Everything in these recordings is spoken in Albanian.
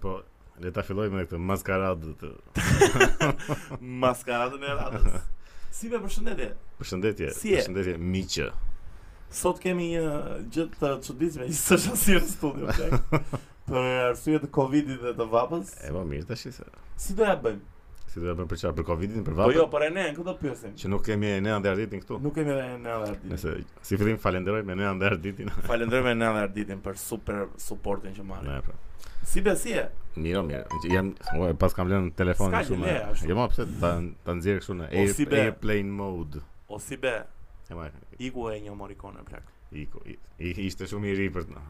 po, Le ta fillojmë me këtë maskaradë të Maskaradën e radhës. Si me përshëndetje. përshëndetje, Si je? përshëndetje miqë. Sot kemi një gjë të çuditshme, një sësha si në studio plak. Për arsye të Covidit dhe të vapës. E po mirë tash se. Si do ja bëjmë? Si do të bëjmë për çfarë? Për Covidin, për Po vapën? jo, për e ne, ku do pyesim? që nuk kemi e nëna dhe arditin këtu. Nuk kemi edhe në Arditin. Nëse si fillim falenderoj me nëna dhe arditin. Falenderojmë në Arditin për super supportin që marrin. Ne pra. Si besie? Mirë, o mirë. Që Jam ua, pas kam lënë telefonin S'ka gjë, le, ashtu. Jo, ma pse ta ta nxjerr kështu në O, air, si be. airplane mode. O si be, E ma iku e një morikone plak. iku. i- i- Ishte shumë i ri për të.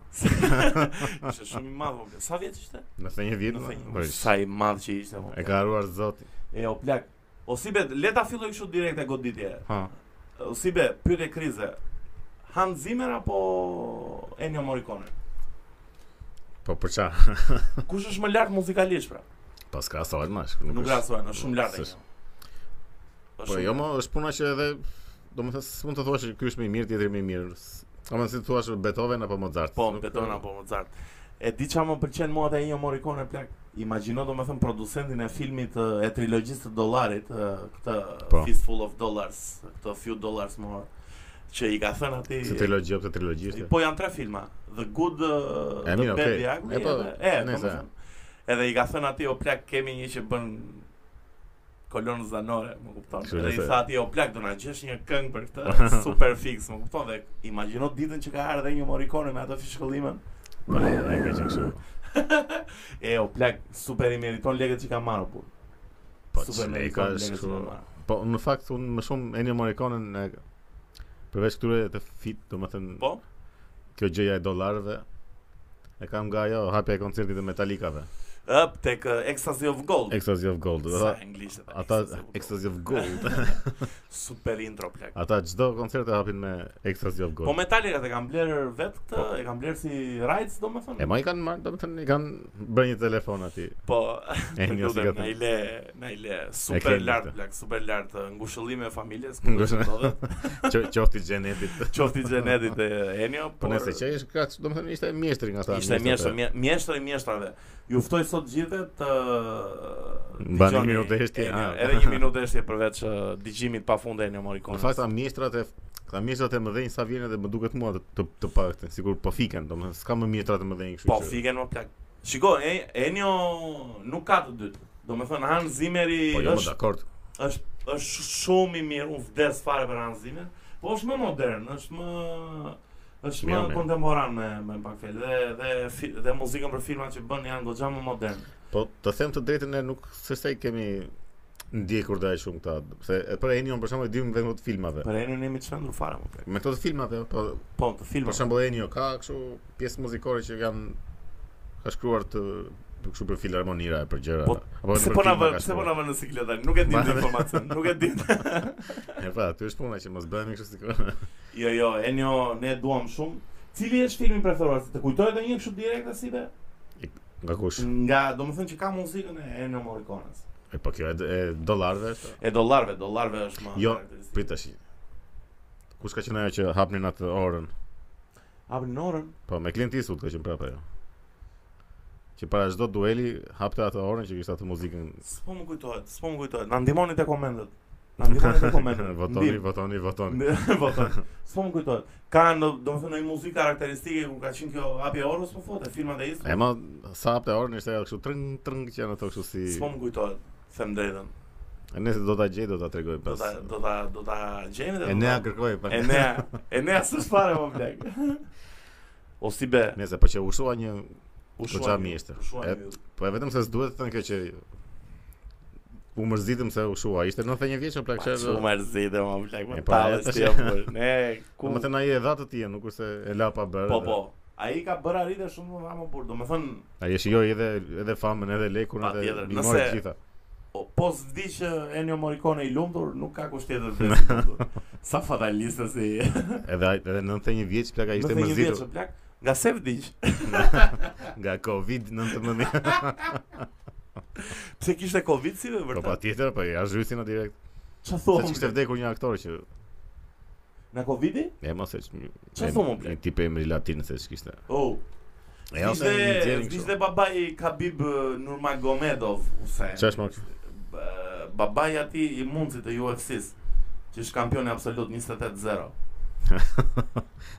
Ishte shumë i madh. o plak. Sa vjeç ishte? Nëse një vit, Nëse një- po, Sa i madh që ishte. o e plak. ka haruar zoti. E o plak. O si be, le ta filloj kështu direkt e goditje. Ha. O si be, pyetje krize. Hans Zimmer apo Ennio Morricone? Po për çfarë? Kush është më lart muzikalisht pra? Pas ka asojt mash. Nuk është- rasohen, është shumë lart. s'është. Po Po jo, mo, është puna që edhe domethënë s'mund të thuash që ky është më i mirë, tjetri më i mirë. S- Ama si të thuash Beethoven apo Mozart. Po, Nuk- Beethoven apo Mozart. E di çfarë më pëlqen mua te Ennio Morricone plak. Imagjino domethën producentin e filmit ë, e trilogjisë të dollarit, ë, këtë Po. Fistful of Dollars, këtë Few Dollars More, që i ka thënë atij Si trilogji apo trilogji është. Po janë tre filma, The Good, uh, E, The mirë, Bad, okay. The Ugly, E, po, edhe- e, po, nëse. më thënë. Edhe i ka thënë atij o plak kemi një që bën kolonë zanore, më kupton. Kështu Edhe i nëse. tha atij o plak do na gjesh një këngë për këtë super fix, më kupton. Dhe imagjino ditën që ka ardhur një Morricone me atë fishkëllimën. Po, ai ka qenë kështu. E o plak super i meriton lekët që ka marrë burr. Po, Super që meriton leka është lekët që kështu. ka marrë. Po në fakt unë më shumë Ennio Morricone e përveç këtyre të fit, domethënë Po? kjo gjëja e dollarëve e kam nga ajo hapja e koncertit të Metallicave. Ëp tek uh, Ecstasy of Gold. Ecstasy of Gold. do të Sa thotë, anglisht. e tha, Ata Ecstasy of Ecstasy of Gold. Gold. super intro plak. Ata çdo koncert e hapin me Ecstasy of Po Gold. Metallica e kanë bler vetë këtë, Po. e kanë bler si rights domethënë. E ma i kanë marrë, domethënë i kanë bërë një telefon aty. Po, E të një si lutem, ka na i thënë. le, na i le super kemi lart këtë. plak, super lart ë, ngushëllime e familjes. Ngushëllime. Qo- Qofti xhenetit. Qofti Xhenetit e Enio, Po nëse që ishte kaq, domethënë ishte mjeshtri nga ata. Ishte mjeshtër, mje- mjeshtër i mjeshtrave. Ju ftoj sot gjithëve të Mbani dëgjoni një minutë heshtje, Ennio, a. Edhe një minutë heshtje përveç ë, digjimit pafund e Enio Në Morricone. fakt ta mjeshtrat e ta mjeshtrat e mëdhenj sa vjen edhe më duket mua të të, të paktën, sigur po fiken, domethënë s'ka më mjeshtrat e mëdhenj kështu. Po që- fiken më plak. Shiko, e- Enio nuk ka të dytë. Do me thënë, Hans Zimmeri Po jo më është dakord. është është shumë i mirë, unë vdes fare për Hans Zimmer, po është më modern, është më është më Mirë, mirë. kontemporan me me pak fjalë dhe dhe fi, dhe muzikën për filma që bën janë goxha më modern. Po të them të drejtën ne nuk s'është se kemi ndjekur daj shumë këta, se e për Enion për shembull e dim vetëm të filmave. Për Enio jemi të çmendur fare më plak. Me këto të filmave, po Po, të për filma. shembull Enio ka kështu pjesë muzikore që kanë ka shkruar të për kështu për filharmonira e për gjëra. Po, apo Pse për po na filma vë, ka pse po shkruar. na vë në siklet tani? Nuk e di të Ma- informacion, nuk e di. E pra, aty është puna që mos bëhemi kështu sikur. Jo, jo, Enio ne e duam shumë. Cili është filmi preferuar? Të kujtohet edhe një kështu direkt si be? Nga kush? Nga, domethënë që ka muzikën e Ennio Morricones. E po kjo e, d- e dollarëve. është. E dollarëve, dollarëve është më Jo, karakteristikë. Prit tash. Kush ka qenë ajo që hapnin atë orën? Hapin orën. Po me Clint Eastwood ka qenë prapë ajo. Që para çdo dueli hapte atë orën që kishte atë muzikën. S'po më kujtohet, s'po më kujtohet. Na ndihmoni te komentet. Na ndihmoni te komentet. votoni, votoni, votoni. Ndim- Votoni. S'po më kujtohet. Ka në, domethënë një muzikë karakteristike ku ka qenë kjo hapja e orës po fote filmat e E isë. ma sa hapte orën ishte ajo kështu trëng trëng që janë ato kështu si. S'po më kujtohet. Them drejtën. E nëse do ta gjej do ta tregoj Do pas. ta do ta do ta gjejmë dhe. E nea kërkoj po. pas. E nea, e nea s'është fare më blek. O si be, Nëse po që ushua një, u goxha shuan ju, mjeshtër. u shuan po, E- ju. po e vetëm se s'duhet të thënë kjo që u mërzitëm se ushua. Ishte 91 vjeç apo Pa, plak çfarë? Shumë erëzite më blek, më E, po, talë tash- ti apo. Ne Ku ku Po, më thënë ai e dha të tij, nuk është se e la pa bërë. Po edhe- po. Ai ka bërë arritje shumë më më burr. Domethënë Ai e shijoi edhe edhe famën, edhe lekun, Pa edhe tjetër, i mori nëse- të gjitha. O, po s'di që Ennio Morricone i lumtur, nuk ka kusht tjetër të i lumtur. Sa fataliste si. Edhe ai- edhe 91 vjeç plaka ishte Nëse një vjeç po. mërzitur e plak, nga se vdiq. nga Covid-19. Pse kishte Covid si dhe Po vërtet? patjetër, po ja zhysin direkt. Ç'a Se që kishte thon? vdekur një aktor që Nga Covidi? e mos e që- Çfarë e- thua, mo, plak? Një tip e emri latin se ç'kishte. Oh. E ja se një Ishte djerim ishte kështu. babai Khabib eh, Nurmagomedov, ose Ç'është më kjo? eh, babai ati i mundësit të UFC-s, që është kampion e absolut 28-0.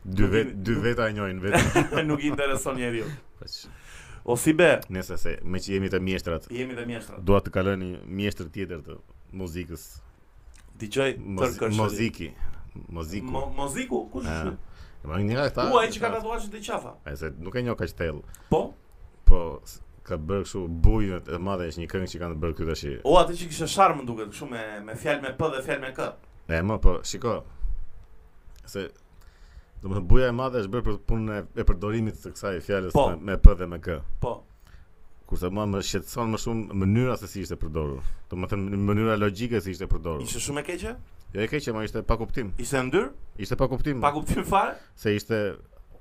Dy Nuk vet, i- dy veta e njohin vetëm. Nuk i intereson njeriu. Po që- O si be, Nëse se me që jemi të mjeshtrat, jemi të mjeshtra. dua të kaloj një mjeshtër tjetër të muzikës, Dëgjoj mozi- tërkësh. muziki, muziku. Mo- Moziku, kush Ah, është? Ma një nga këta. Uaj që ka tatuazhe të qafa. Ai se nuk e njoh kaq thellë, Po, po s- ka bërë kështu bujën e madhe është një këngë që kanë bërë këtu tash. o atë që kishte sharm duket, kështu me me fjalë me p dhe fjalë me k. E më po, shiko. Se do të buja e madhe është bërë për punën e- e përdorimit të kësaj fjalës Po. me, me p dhe me k. Po. Kurse mua më shqetëson më shumë mënyra se si ishte përdorur. Do të thënë mënyra logjike si ishte përdorur. Ishte shumë e keqe? Jo e keqe, më ishte pa kuptim. Ishte ndyr? Ishte pa kuptim. Pa kuptim fare? Se ishte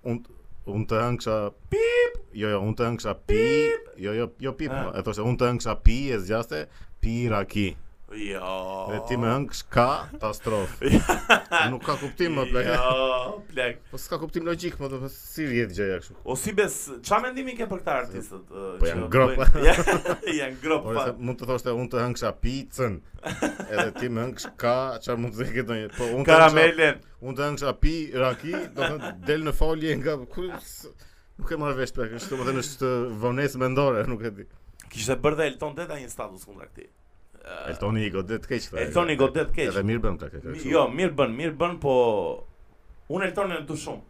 un un të hëngsha pip. Jo, jo, un të hëngsha pip. Jo, jo, jo pip. Ah. mo. E thoshte un të hëngsha pi e zgjaste pi raki. Jo. Dhe ti më hëngsh ka ta strof. Po Nuk ka kuptim më plak. Jo, plak. Po s'ka kuptim logjik, më do të thë- si rjedh gjëja kështu. O si bes, qa mendimi ke për këta artistët? ë, Po që janë grop. bëjnë- Ja, janë grop, Por Po pa. se mund të thoshte un të hëngsha picën. Edhe ti më hëngsh ka, çfarë mund të ketë ndonjë. Po un të hëngsha Karamelen. Unë të hëngsha pi, raki, do të thënë, del në folje nga... ku- s- Nuk e marrë vesh plak, është do të thënë është vonesë mendore, nuk e di. Kishte bërë dhe Elton Deta një status kundra këtij. Ë, Eltoni i godet keq. tha. Eltoni godet keq. Edhe mirë bën plak. e ka Mi- kështu. Jo, mirë bën, mirë bën, po unë Eltonin e du shumë.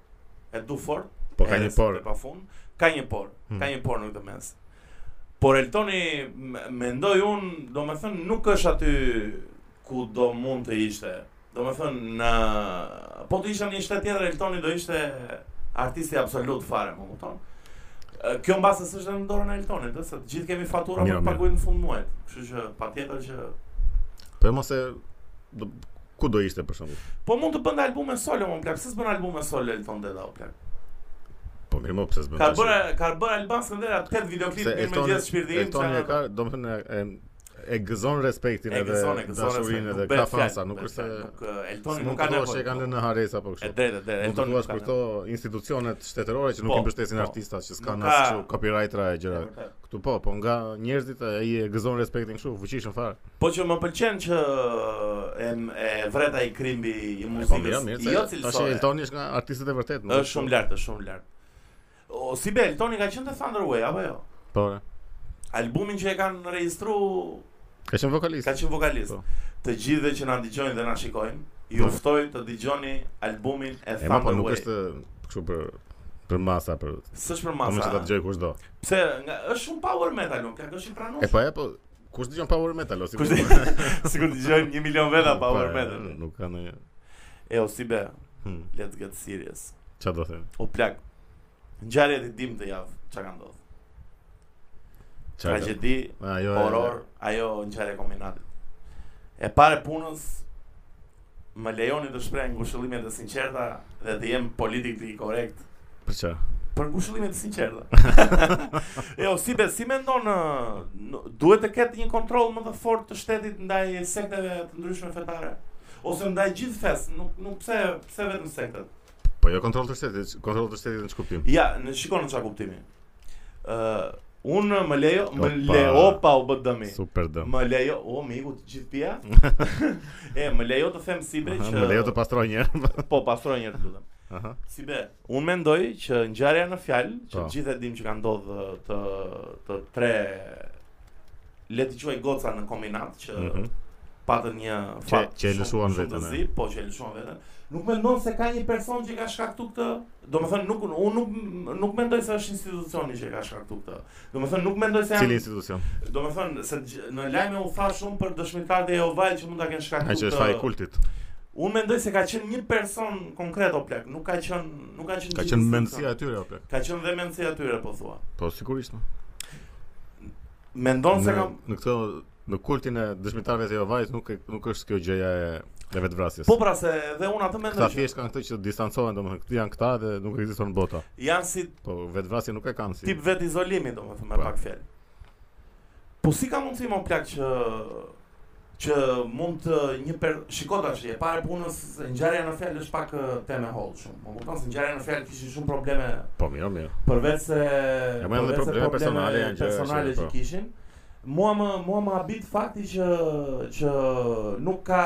E du fort. Po ka një por. Pa fund, ka një por, Hmm. ka një por në këtë mes. Por Eltoni m- mendoj unë, do me thënë, nuk është aty ku do mund të ishte. Do me thënë, në... po të ishte në një shtet tjetër, Eltoni do ishte artisti absolut fare, më kupton. Ë, Kjo mbase s'është në dorën e Eltonit, ëh, se të gjithë kemi fatura Mirë, për mirë. paguajmë në fund muajit. Kështu që patjetër që Po mos e do- ku do ishte për shembull. Po mund të bënda albume solo, më plak, pse s'bën albume solo Elton Deda, o plak. Po mirë më pse s'bën. Ka tash. bërë ka bërë Alban Skëndera 8 videoklip Se mirë me Eltoni- gjithë shpirtin. Eltoni e ka, domethënë e e gëzon respektin e edhe gëzon, e gëzon. dashurinë edhe nuk ka bëhet fansa, fjalë, nuk bëhet është fjalë, nuk, eh, se Eltoni mund nuk ka të thosh nevojë. që e kanë lënë në haresa apo E kështu. drejtë, e Mund drejtë, të Eltoni nuk thuash ka për nevojë. këto institucionet shtetërore që nuk Po, i mbështesin po. artistat që Nuk s'kan ka- as copyrightra e gjëra. E vërtet. Këtu po, po nga njerëzit e, ai e gëzon respektin kështu, fuqishëm fare. Po që më pëlqen që e, e vreta i krimbi i Po, muzikës, jo tash cilësore. Eltoni është nga artistët e vërtet. nuk Është shumë lart, është shumë lart. O si be Eltoni ka qenë te Thunderway apo jo? Po. re. Albumin që e kanë regjistruar Ka qenë vokalist. Ka qenë vokalist. Po. Të gjithëve që na dëgjojnë dhe na shikojnë, ju Po. ftoj të dëgjoni albumin e E ma po Thunder nuk Wave. është kështu për për masa për S'është për Po më që ta masa. dëgjoj kushdo. Pse nga është shumë power metal, nuk ka është i E pranuar. po e po kush dëgjon power metal ose Kush Sigur dëgjojnë 1 milion veta power Po, e, metal. Nuk ka ndonjë. E o si be, Hmm, let's get serious. Çfarë do them? O plak. Ngjarjet i dim të javë, çka ka ndodhur? Çfarë? do- Tragjedi, A, jo, e- Pra horror, ajo ngjarje e kombinatit. E pare punës më lejoni të shpreh ngushëllimet e sinqerta dhe të jem politikli korrekt Për çfarë? Për ngushëllime të sinqerta. jo, si be, si mendon ë, n- duhet të ketë një kontroll më të fortë të shtetit ndaj sekteve të ndryshme fetare ose ndaj gjithë fes, nuk nuk pse pse vetëm sektet. Po jo kontroll të shtetit, kontroll të shtetit në çkuptim. Ja, në shikon në çfarë kuptimi. Ë, unë më lejo, më Opa. lejo pa u bë dëmi. Super dëm. Më lejo, o miku të gjithë pia. e, më lejo të them si be Aha, që Më lejo të pastroj një herë. po pastroj një herë lutem. Aha. Si be, unë mendoj që ngjarja në fjalë, që Po. gjithë e dim që ka ndodhë të të tre le të quaj goca në kombinat që Mhm. patën një Që- fat që e shumë- lëshuan shumë veten, të e. zi, po që e lëshuan veten. Nuk mendon se ka një person që ka shkaktu këtë, domethënë nuk unë nuk nuk mendoj se është institucioni që e ka shkaktu këtë. Domethënë nuk mendoj se Cili janë, institucion? domethënë se gj- në lajme u tha shumë për dëshmitarët e Jehovait që mund ta kenë shkaktu Ai që këtë. është faji kultit. Unë mendoj se ka qenë një person konkret o plak, nuk ka qenë, nuk ka qenë Ka gjithë qenë si mendësia thonë. e tyre apo? Ka qenë dhe mendësia atyre po thua. Po sigurisht. no. Mendon se Në- kam në këto në kultin e dëshmitarëve të Jehovait nuk e- nuk është kjo gjëja e e vetvrasjes. Po pra se dhe unë atë Këta mendoj që thjesht kanë këtë që distancohen, domethënë këtu janë këta dhe nuk ekziston bota. janë si Po vetvrasje nuk e kanë si. tip vet izolimi domethënë me Po. pak fjalë. Po si ka mundësi më plak që që mund të një per... shiko tash, e para e punës se ngjarja në fjalë është pak ë, temë e hollë shumë. Po kupton se ngjarja në fjalë kishin shumë probleme Po mirë, mirë. përveç se Ja, më janë dhe përveç se probleme personale janë që- personale që- që po. kishin. Mua më mua më habit fakti që që nuk ka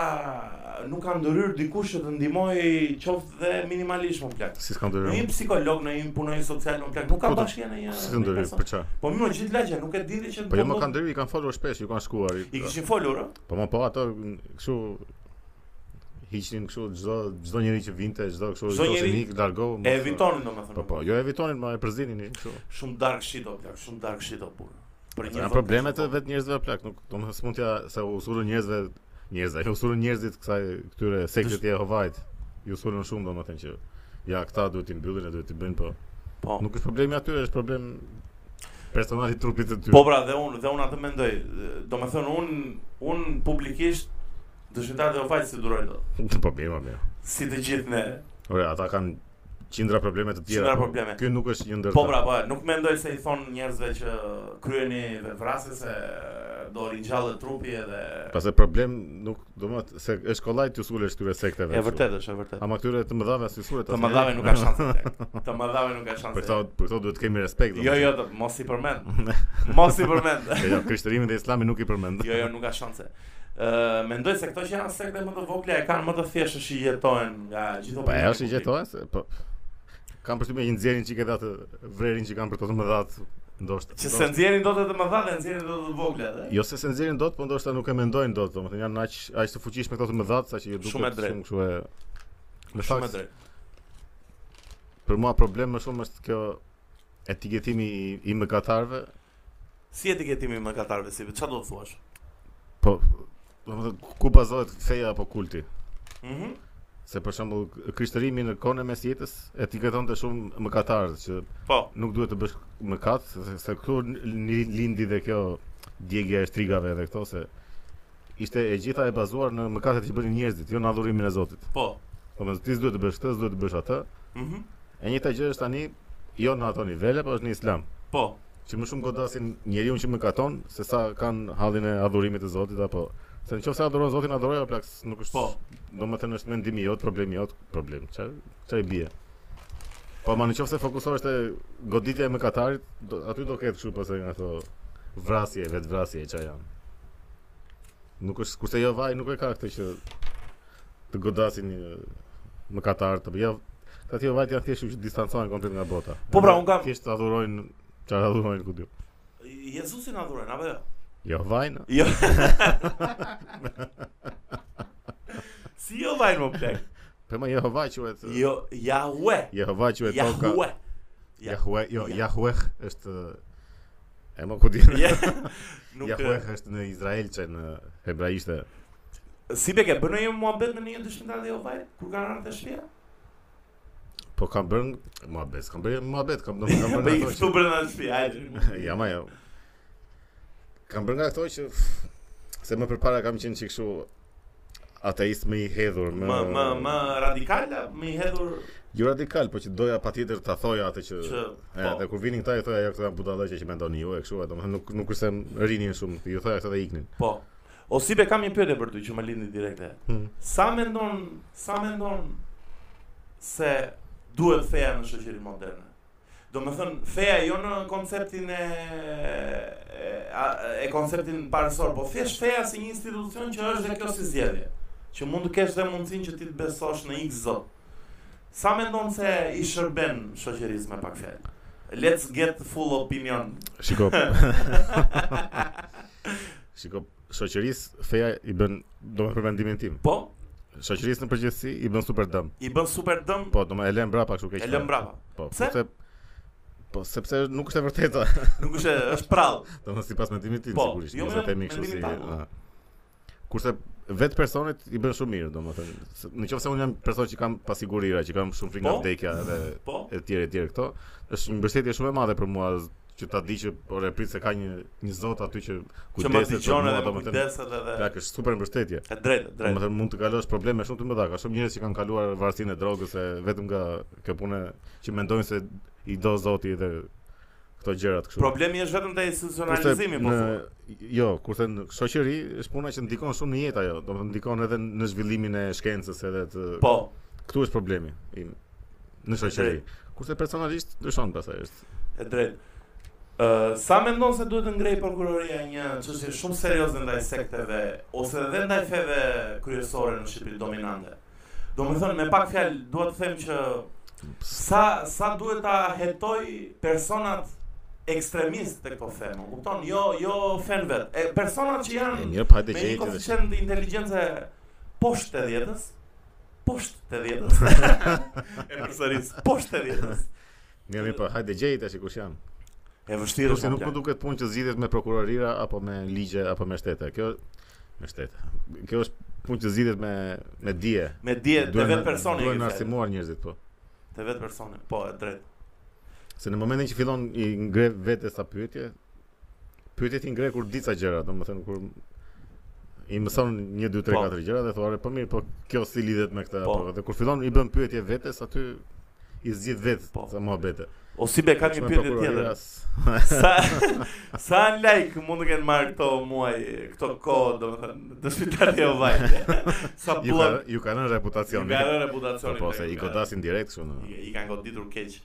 nuk ka ndërhyr dikush që të ndihmoj qoftë dhe minimalisht më plak. Si s'ka Në një ndërhyr. psikolog, në një punonjë social, në plak, nuk ka Po, do- bashkja në një. Si s'ka ndërhyr, person. për çfarë? Po mirë, gjithë lagja, nuk e dini që Po jo më kanë ndërhyr, i kanë folur shpesh, ju kanë shkuar. i- I kishin folur, ë? Po më po ato n- kështu hiqnin kështu çdo çdo njeri që vinte, çdo kështu Çdo njeri nik largo. E evitonin domethënë. Po po, jo evitonin, më e përzinin kështu. Shumë dark shit o plak, shumë dark shit o burr. Për Po, po. Janë probleme të vetë njerëzve plak, nuk domethënë s'mund t'ja se usurën njerëzve njerëzve, e usurën njerëzit kësaj këtyre sekteve të Jehovait. Ju usurën shumë domethënë që ja këta duhet i mbyllin e duhet i bëjnë po. Po. Nuk është problemi atyre, është problem personali trupit të tyre. Po pra, dhe unë dhe unë atë mendoj. Domethënë unë unë publikisht dëshmitar dhe ofaj si duroj dot. po mirë, po mirë. Si të gjithë ne. Ore, ata kanë qindra probleme të tjera. Qindra po probleme. Ky nuk është një ndër. Po pra, po, nuk mendoj se i thon njerëzve që kryeni vevrasje se do ringjallet trupi edhe Pastaj problem nuk, domethënë se është kollaj të usulesh këtyre sekteve. E vërtet është, e vërtet. Ama këtyre të mëdhave as usulet. Të as mëdhave njerë. nuk ka shanse. plak. Të mëdhave nuk ka Për këto shanse. për këto duhet të kemi respekt. Jo, jo, të- mos i përmend. Mos i përmend. domethënë. Jo, jo, krishterimin dhe islamin nuk i përmend. Jo, jo, nuk ka shanse. Ë, mendoj se këto që janë sekte më të vogla e kanë më të thjeshtë që i jetojnë nga gjithë Po e opinioni është i publik. gjetoa se po kam përshtypjen që nxjerrin çike atë vrerin që kanë për to të mëdhat ndoshta. Që se nxjerrin dot të mëdha dhe nxjerrin dot të vogla dhe. Jo se se nxjerrin dot, po ndoshta nuk e mendojnë dot, domethënë janë aq aq të fuqishme këto të mëdhat sa që ju duket Shumë e drejtë. kështu e Në shumë e fakt, drejtë. për mua problem më shumë është kjo etiketimi i, i mëkatarëve. Si etiketimi i mëkatarëve si çfarë do të thuash? Po, domethënë ku bazohet feja apo kulti? Mhm. Se për shembull krishterimi në kohën e mesjetës etiketonte shumë mëkatarët që Po, nuk duhet të bësh mëkat, se, se këtu n- n- lindi dhe kjo djegja e shtrigave dhe këto se ishte e gjitha e bazuar në mëkatet që bënin njerëzit, jo në adhurimin e Zotit. po. Domethënë ti s'duhet të bësh këtë, s'duhet të bësh atë. Mhm. E njëjta gjë është tani jo në ato nivele, por është në Islam. Po. Që më shumë godasin njeriu që mëkaton se sa kanë hallin e adhurimit të Zotit apo se nëse adhuron Zotin adhuroja plak s- nuk është. Po. Domethënë është mendimi jot, problemi jot, problem. Çfarë çfarë i bie? Po ma nëse fokusohesh te goditja e mëkatarit, do, aty do ketë kështu pastaj nga ato vrasje, vetvrasje që janë. Nuk është kurse jo vaj, nuk e ka këtë që të godasin një mëkatar të jo Këta tjerë vajtë janë thjesht që distancohen komplet nga bota. Po, pra, unë kam- Thjesht adhurojnë, çfarë adhurojnë ku diu. Jezusi na dhuron apo jo? Jo vajnë. Jo. si jo vajnë më plek? Po më Jehova quhet. Jo, Yahweh. Jehova quhet toka. Yahweh. Yahweh, jo, Ja. Yahweh është e më ku di. Ja. Nuk Yahweh është në Izrael që në hebraishte. Si be ke bërë një muhabet me një dëshmitar dhe Jehovait kur kanë rënë të shtëpia? Po kam bërë muhabet, kam bërë muhabet, kam do kam Po bërë i ato. këtu bërë në shtëpi, hajde. që- Ja ma jo. Kam bërë nga ato që pff, se më përpara kam qenë që kështu ateist më i hedhur, më Më më më radikal, më i hedhur jo radikal, po që doja patjetër ta thoja atë që që po. E, dhe kur vinin këta i thoja ja këto janë budallëqe që mendoni ju e kështu, e domethënë nuk nuk kurse rinin shumë, ju thoja këta dhe iknin. po. O si be kam një pyetje për ty që më lindi direkte. Hmm. Sa mendon, sa mendon se duhet feja në shoqërinë moderne? Do me thënë, feja jo në konceptin e, e, a- e konceptin parësor, po thjesht feja si një institucion që është dhe kjo si zjedje, që mund të kesh dhe mundësin që ti të besosh në x zot. Sa mendon se i shërben shoqërisë me pak fjalë? Let's get full opinion. Shiko. Shiko, shoqërisë feja i bën, do për mendimin tim. Po, Shoqërisë në përgjithësi i bën super dëm. i bën super dëm, Po, do më e lën mbrapa kështu keq. e lëm brapa. Po, Pse? sepse po sepse nuk është e vërteta, Nuk është, është prallë. domethënë sipas mendimit tim Po, sigurisht, jo jo me të themi kështu mendimin si. tim, po. a. Kurse vetë personit i bën shumë mirë, domethënë. se- Në qoftë se unë jam person që kam pasigurira, që kam shumë frikë nga Po. vdekja dhe Po, e tjerë e tjerë këto, është një mbështetje shumë e madhe për mua z- që ta di që ore prit se ka një një zot aty që që më për dëgjon mua, edhe më domethënë, kujdeset edhe... Plak është super mbështetje. E drejtë, e drejtë. Domethënë mund të kalosh probleme shumë të mëdha. Ka shumë njerëz që kanë kaluar varësinë e drogës e vetëm nga kjo punë që mendojnë se i do Zoti dhe këto gjërat kështu. Problemi është vetëm te institucionalizimi po në, thua. jo, kurse në shoqëri është puna që ndikon shumë në jetë ajo, do të thotë ndikon edhe në zhvillimin e shkencës edhe të Po, këtu është problemi im në shoqëri. Kurse personalisht ndryshon pasaj është. e drejtë. Ë, sa mendon se duhet të ngrejë prokuroria një çështje shumë serioze ndaj sekteve ose edhe ndaj feve kryesore në Shqipëri dominante? Do me thënë, me pak fjalë, duhet të them që sa, sa duhet ta hetoj personat ekstremist të këto fe, më kupton? Jo, jo fen vetë. E, personat që E janë mirë, pa hajde Me një gjejtë. dhe shit. koeficient inteligjence poshtë 80-s, poshtë 80-s. e përsëris, poshtë 80-s. Mirë, mirë, pa hajde gjejtë tash kush jam. E vështirë Kurse është. nuk po më Nuk duket punë që zgjidhet me prokurorira apo me ligje apo me shtete. Kjo me shtete. Kjo është punë që zgjidhet me me dije. me dje të Duhen- vetë personi. Duhen i na ke thënë. arsimuar njerëzit po. Të vetë personi. Po, e drejtë. Se në momentin që fillon i ngre vetë sa pyetje, pyetjet i ngre kur di ca gjëra, domethënë kur i mëson 1 2 3 Po. 4 gjëra dhe thua, "Ore, po mirë, po kjo si lidhet me këtë?" Po. apo dhe kur fillon i bën pyetje vetes, aty i zgjidh vetë Po. sa muhabete. O si be ka një Shme pyetje prokurorira tjetër. as- Sa sa like mund të kenë marrë këto muaj, këto kohë, domethënë, dëshmitari e vajte. sa Ju ka bllok. ju kanë reputacion. Nga rë reputacioni. Po se i godasin direkt kështu. në- I, i kanë goditur keq.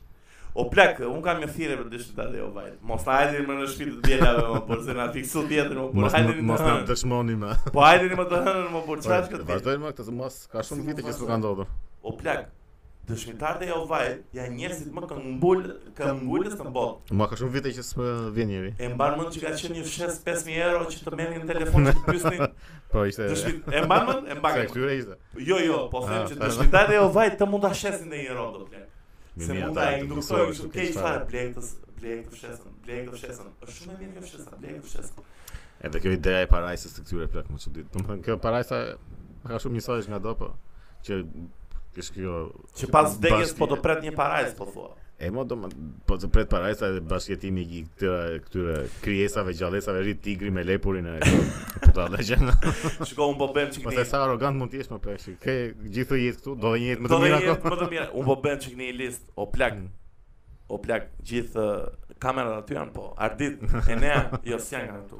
O plak, un kam një thirrje për dëshmitar dhe o vajt. Mos na hajdeni më në shtëpi të dielave më, por se na fiksu tjetër më, por Mos hajdeni mos mos na dëshmoni më. Po hajdeni më të hënën më, por çfarë Po, këtë? Vazhdojmë më këtë se mos ka shumë Si vite mund që s'u vazhdoj? ka ndodhur. O plak, dëshmitar dhe o vajt janë njerëzit më këmbul, këmbulës në botë. Ma ka shumë vite që s'më vjen njëri. E mban mend që ka qenë një fshes 5000 euro që të merrnin telefon që të pyesnin. Po ishte. Dëshmit, e mban mend? E mban. Se mend. këtyre ishte. Jo, jo, po Ah. them që dëshmitar dhe o vajt të mund ta shesin në një rond o plak. Se Mimi, mund ata ta i induktojë mësojnë kështu kështu keq keq fare blektës, blekt të fshesën, blekt të fshesën. Është shumë e mirë kjo fshesa, blekt të fshesën. Edhe kjo ideja e parajsës të këtyre plak më çudit. Domethënë kjo parajsa ka shumë njësojsh nga do po që është kjo Që pas vdekjes bashkë- po të pret një parajs po thua. E mo do më po të pret parajsa dhe bashkëtimi i këtyre këtyre krijesave, gjallësave, ri tigri me lepurin e po ta lëgjën. Shiko un po bëjmë Pastaj çikni. sa arrogant mund të jesh më plak. që Ke gjithë jetë këtu, do të një jetë më Do të të mirë jetë ako. më të mirë. Un po bëjmë çikni list, o plak. Mm. O plak, gjithë eh, kamerat aty janë po. Ardit, Enea, jo s'janë nga këtu.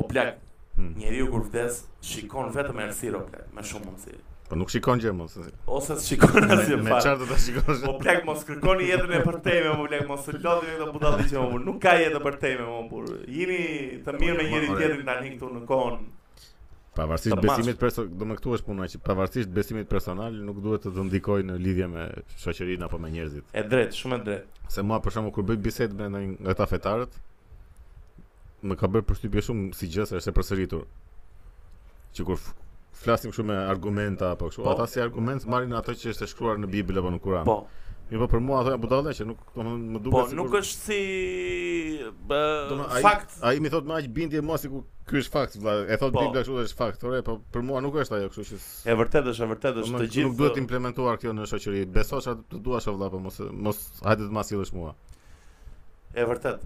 O plak, Hmm. njeriu kur vdes shikon vetëm errësirë o plak, me shumë mundësi. Po nuk shikon gjë mos. Me Ose s'shikon asgjë me fare. çfarë do ta shikosh? Po plak mos kërkoni jetën e përtejme, më plak mos u lodhni me këto budalli që më burr. Nuk ka jetë e përtejme më burr. Jini të mirë me njëri tjetrin tani këtu në kohën. Pavarësisht Tërmash. besimit personal, do më këtu është puna që pavarësisht besimit personal nuk duhet të të ndikoj në lidhje me shoqërinë apo me njerëzit. E drejtë, shumë e drejtë. Se mua për shembull kur bëj bisedë me ndonjë nga ata fetarët, më ka bërë përshtypje shumë si gjë se është e përsëritur. Që kur f- flasim kështu me argumenta apo kështu, Po. ata si argument marrin ato që është e shkruar në Bibël apo në Kur'an. Po, Mirë, po për mua ato janë budalla që nuk domethënë më duket po sikur- nuk është si bë, Domethënë, ai- fakt. Ai më thot më aq bindje mua sikur ky është fakt, vlla. E thot Po. Bibla kështu dhe është fakt, ore, po për mua nuk është ajo, kështu që s- E vërtetë është, e vërtetë është Domethënë, të gjithë. Nuk duhet implementuar kjo në shoqëri. Beso çfarë të duash o vëlla, po mos mos hajde të ma sillësh mua. E vërtet.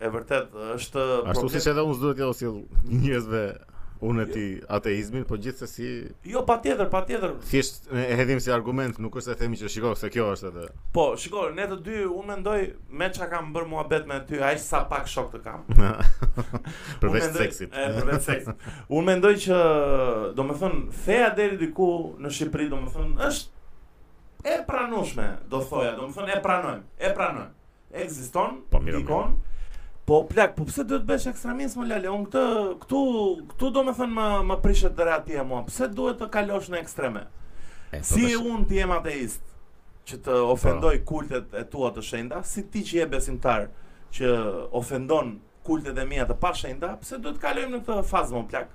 E vërtet është Ashtu siç edhe unë s'duhet ja u sill njerëzve unë e ti ateizmin, po gjithsesi Jo, patjetër, patjetër. thjesht e hedhim si argument, nuk është se themi që shiko se kjo është edhe. Po, shiko, ne të dy unë mendoj me çka kam bërë muhabet me ty, aq sa pak shok të kam. Përveç Unë mendoj- seksit. E, përveç seksit. Unë mendoj që, do me thënë, feja deri diku në Shqipëri, do me thënë, është e pranushme, do thoja, do me thënë, e pranojmë, e pranojmë. Ekziston, Po, mirë, dikon, po plak, po pse duhet bësh ekstremizëm lale? Unë këtë këtu këtu do me thënë më më prishet deratia mua. Pse duhet të kalosh në ekstreme? E, po Si tash- unë ti jem ateist që të ofendoj kultet e tua të shenjta, si ti që je besimtar që ofendon kultet e mia të pashenjta, pse duhet të kalojmë në këtë fazë më plak?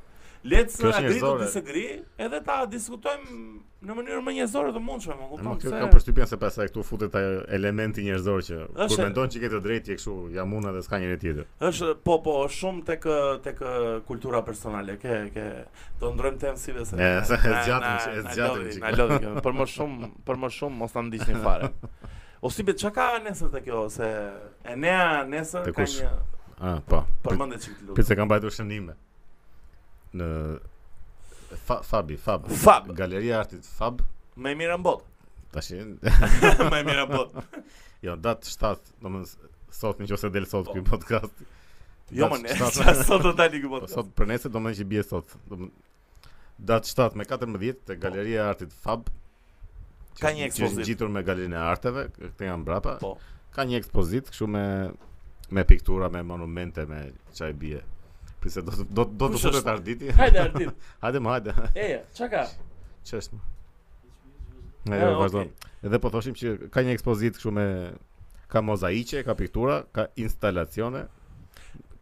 Le të Kjo është agree të njerëzore. disagree, edhe ta diskutojmë në mënyrë më njerëzore të mundshme, më Ma kupton kjo se kam përshtypjen se pastaj këtu futet ajo elementi njerëzor që kur Është- mendon që ke të drejtë je kështu jam unë edhe s'ka njëri tjetër. është po po është shumë tek tek kultura personale. Ke ke do ndrojmë temë si E, vese. se e Na- na- zgjatëm që- e na zgjatëm lodhi, që- Na lodhi kjo. Për më shumë për më shumë mos ta ndiqni fare. O si be çka ka nesër te kjo se e nea nesër Te ka kush? një Ah, po. përmendje çik të Për lutem. se kam bajtur shënime Në fa, Fabi, Fab Fab. Galeria e Artit Fab Më e mira në botë. Tashin Më e mira në botë. Jo, datë 7 Do më sot nëse del sot ky podcast. Po. Jo më Datë ne, 7 sa sot do tani ky Po podcast. sot për nesër do më thënë që bie sot. Do më datë 7 me 14 te Galeria e Artit Fab. që Po. Ka është- një që është ekspozit. ngjitur me Galerinë e Arteve, këte janë brapa. Po. Ka një ekspozit kështu me me piktura, me monumente, me çaj bie. Pse do të- do do të Kush futet është? Arditi. Hajde Ardit. Hajde më hajde. Eja, çka ka? Ç'është? Ah, Ne jo, okay. vazhdon. Edhe po thoshim që ka një ekspozit kështu me ka mozaiqe, ka piktura, ka instalacione.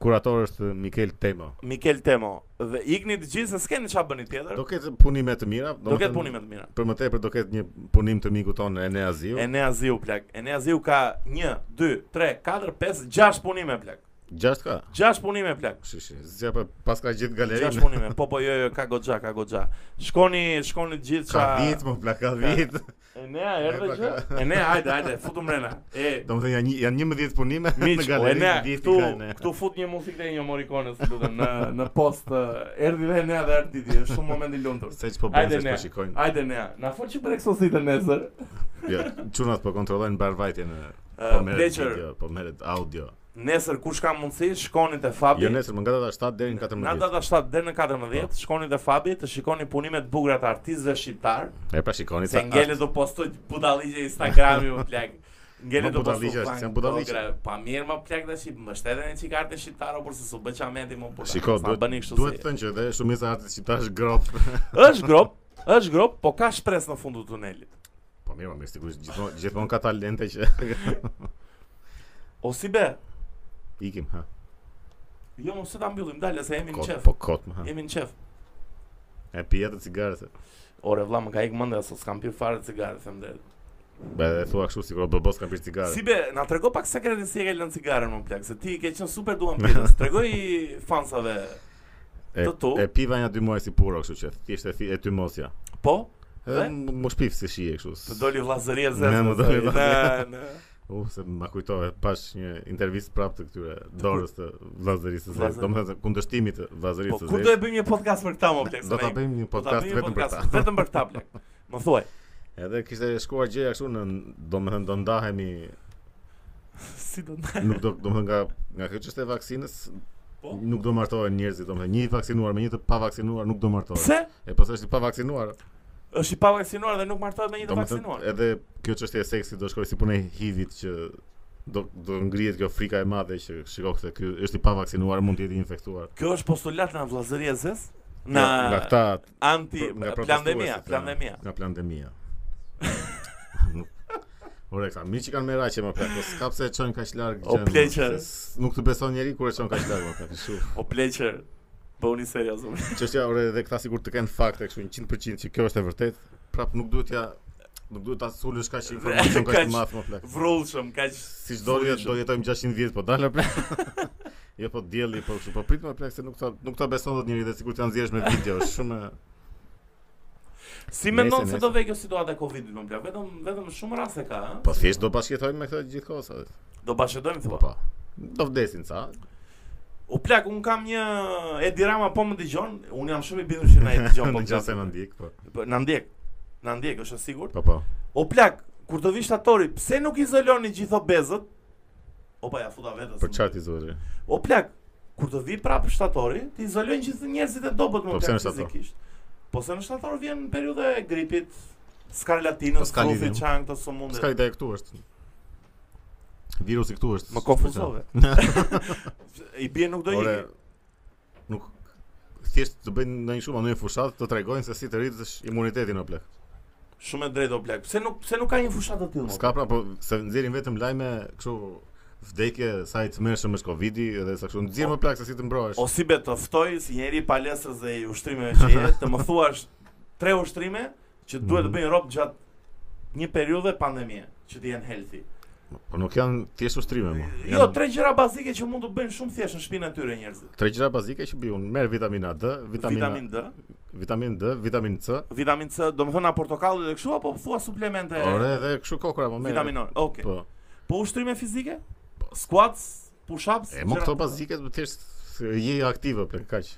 Kurator është Mikel Temo. Mikel Temo dhe ikni të gjithë se s'keni çfarë bëni tjetër. Do ketë punime të mira, Do domethënë- ketë punime të mira. Për më tepër do ketë një punim të mikut tonë Ene Aziu. Enea Ziu plak. Enea Ziu ka 1 2 3 4 5 6 punime plak. Gjasht ka. 6 punime plak. Shishi, zja pa pas ka gjithë galerinë. Gjash punime. Po po jo jo ka goxha, ka goxha. Shkoni, shkoni të gjithë Ka ça. vit, më plak, ka vit. Enea erdhe E, gjë. plak. Enea, hajde, hajde, futu mrena. E Do më thënë janë një- janë 11 punime në Miq, po galeri. Enea, vjetë këtu, kanë, e. këtu fut një muzikë e një Morricone, së lutem, në, në post, eh, erdi dhe Enea dhe erdi ti, është shumë moment i lumtur. Se që po bëjnë, se Hajde që po Enea, shikojnë. hajde Enea, na fol që për eksositën nesër. Ja, Çunat po kontrollojnë barvajtjen. e- Eh, Po merret Pleqër, video, po merret audio. nesër kush ka mundësi, shkoni te Fabi. Jo nesër më nga data 7 deri në Nga 14. data 7 deri në 14, shkoni te Fabi të shikoni punimet e bukura të artistëve shqiptar. E pra shikoni Se sa. ngele do postoj budalligje Instagrami më plak. Ngele Ma do budalligje postoj. është, plan, janë budalligje. dogra, Pa mirë më plak tash, mbështeten e çikartë shqiptare por se s'u bë çameti më punë. Shiko, duhet duhet bëni kështu duhet të se. thënë që edhe shumica e artit shqiptar është grop. Është grop, është grop, po ka shpresë në fund të tunelit. Po mirë, po mirë, sigurisht gjithmonë gjithmonë ka talente që O si be? ikim ha. Jo, mos e ta mbyllim, dalë se jemi në Kot, qef. po kot më ha. Jemi në qef. E pije të cigare se. Ore vlla, më ka ikë mendja se s'kam pirë fare cigare, them drejt. Ba e thua kështu sikur bobos kanë pirë cigare. Si be, na trego pak sekretin si e ke lënë cigaren më plak, se ti ke qenë super duan pjesë. Tregoj fansave. E, të tu. e piva një dy muaj si puro, kështu që thjesht e, thi- e ty mosja. Po, Edhe Dhe? m- më shpif si shije kështu. s- të doli vllazëria zezë. Ne, më doli se- vllazëria. Ne, ne. U, se ma kujtove, pash një intervistë prapë të këtyre dorës të vllazërisë së zezë, Vllazër- domethënë kundërshtimit të Po vllazërisë së kur do zezë. e bëjmë një podcast për këtë më plak? Do ta bëjmë një podcast vetëm për ta. Vetëm për këtë plak. Më thuaj, Edhe kishte shkuar gjëja kështu në domethënë do ndahemi, si do të nuk do domethënë nga nga kjo çështje e vaksinës Po. nuk do martohen njerëzit, domethënë një i vaksinuar me një të pavaksinuar nuk do martohen. Pse? E pas është i pavaksinuar. Është i pavaksinuar dhe nuk martohet me një të Domethënë, vaksinuar. Edhe kjo çështje e seksit do shkoj si punë e HIV-it që do do ngrihet kjo frika e madhe që shikoj se ky është i pavaksinuar, mund të jetë i infektuar. Kjo është postulat nga vllazëria zezë? Në Nga- nga këta anti nga pandemia, protestuesit, pandemia. Nga pandemia. Nuk- Ore, ka mirë që kanë me raqe më plak, po s'ka pse e çojnë kaq larg. O, gjën, pleqe. se s- Nuk të beson njeri kur e çon kaq larg më plak. Kështu. O pleqër. Bëuni po serioz. më. Çështja ore edhe këta sigur të kenë fakte kështu 100% që kjo është e vërtetë. Prap nuk duhet ja nuk duhet ta sulësh kaq informacion kaq Kaq- të madh më plak. Vrullshëm, kaq Si çdo jetë do jetojmë 600 vjet po dalë plak. pra. jo po dielli po kështu po prit më plak se nuk ta nuk ta beson dot njëri dhe sikur të janë zgjesh me video, është shumë e- Si Nese, mendon se nese. do vej kjo situata e Covidit më plak? Vetëm vetëm shumë raste ka, ha? po thjesht do bashkëjetojmë me këtë gjithkohë sa. Do bashkëdojmë Po thua. po. Do vdesin ca. U plak, un kam një Edi Rama po më dëgjon, un jam shumë i bindur që na e dëgjon Në gjasë po. në ndjek, po. Po, Na ndjek. Na ndjek, është e sigurt. Po po. O plak, kur do vi shtatori, pse nuk izoloni gjithë obezët? Opa, ja futa vetes. Për çfarë ti zuri? O plak, kur do vi prapë shtatori, ti izolojnë gjithë njerëzit e dobët më Po, pse plak në shtator? fizikisht. Po se në shtator vjen periudha e gripit, skarlatinës, Po, s'ka frufi lidhje. çan këto sëmundje. S'ka ide këtu është. Virusi këtu është. Më konfuzove. I bie nuk do Ore, ikë. nuk thjesht të bëjnë ndonjë shumë ndonjë fushat të tregojnë se si të rritësh imunitetin o plak. Shumë e drejtë o plak. Pse nuk pse nuk ka një fushat të tillë? mo? S'ka pra, po se nxjerrin vetëm lajme kështu vdekje sa i tmerrshëm është Covidi dhe sa kështu nxjerr më plak se si të mbrohesh. O si be të ftoj si njeri i palestrës dhe i ushtrimeve që je, të më thuash tre ushtrime që duhet të Mhm. bëjnë rob gjatë një periudhe pandemie, që të jenë healthy. Po nuk janë thjesht ushtrime po. më. Jo, tre gjëra bazike që mund të bëjnë shumë thjesht në shtëpinë e tyre njerëzit. tre gjëra bazike që bëjun, merr vitamina D, vitamina Vitamin D, vitamin D, vitamin C. vitamin C, domethënë a portokalli dhe kështu apo thua suplemente Ore, dhe kështu kokra më merr. vitaminore. Okej. Po. Po ushtrime fizike? Squats, push-ups, E më gjëra- këto bazike të thjesht je aktive për kaq.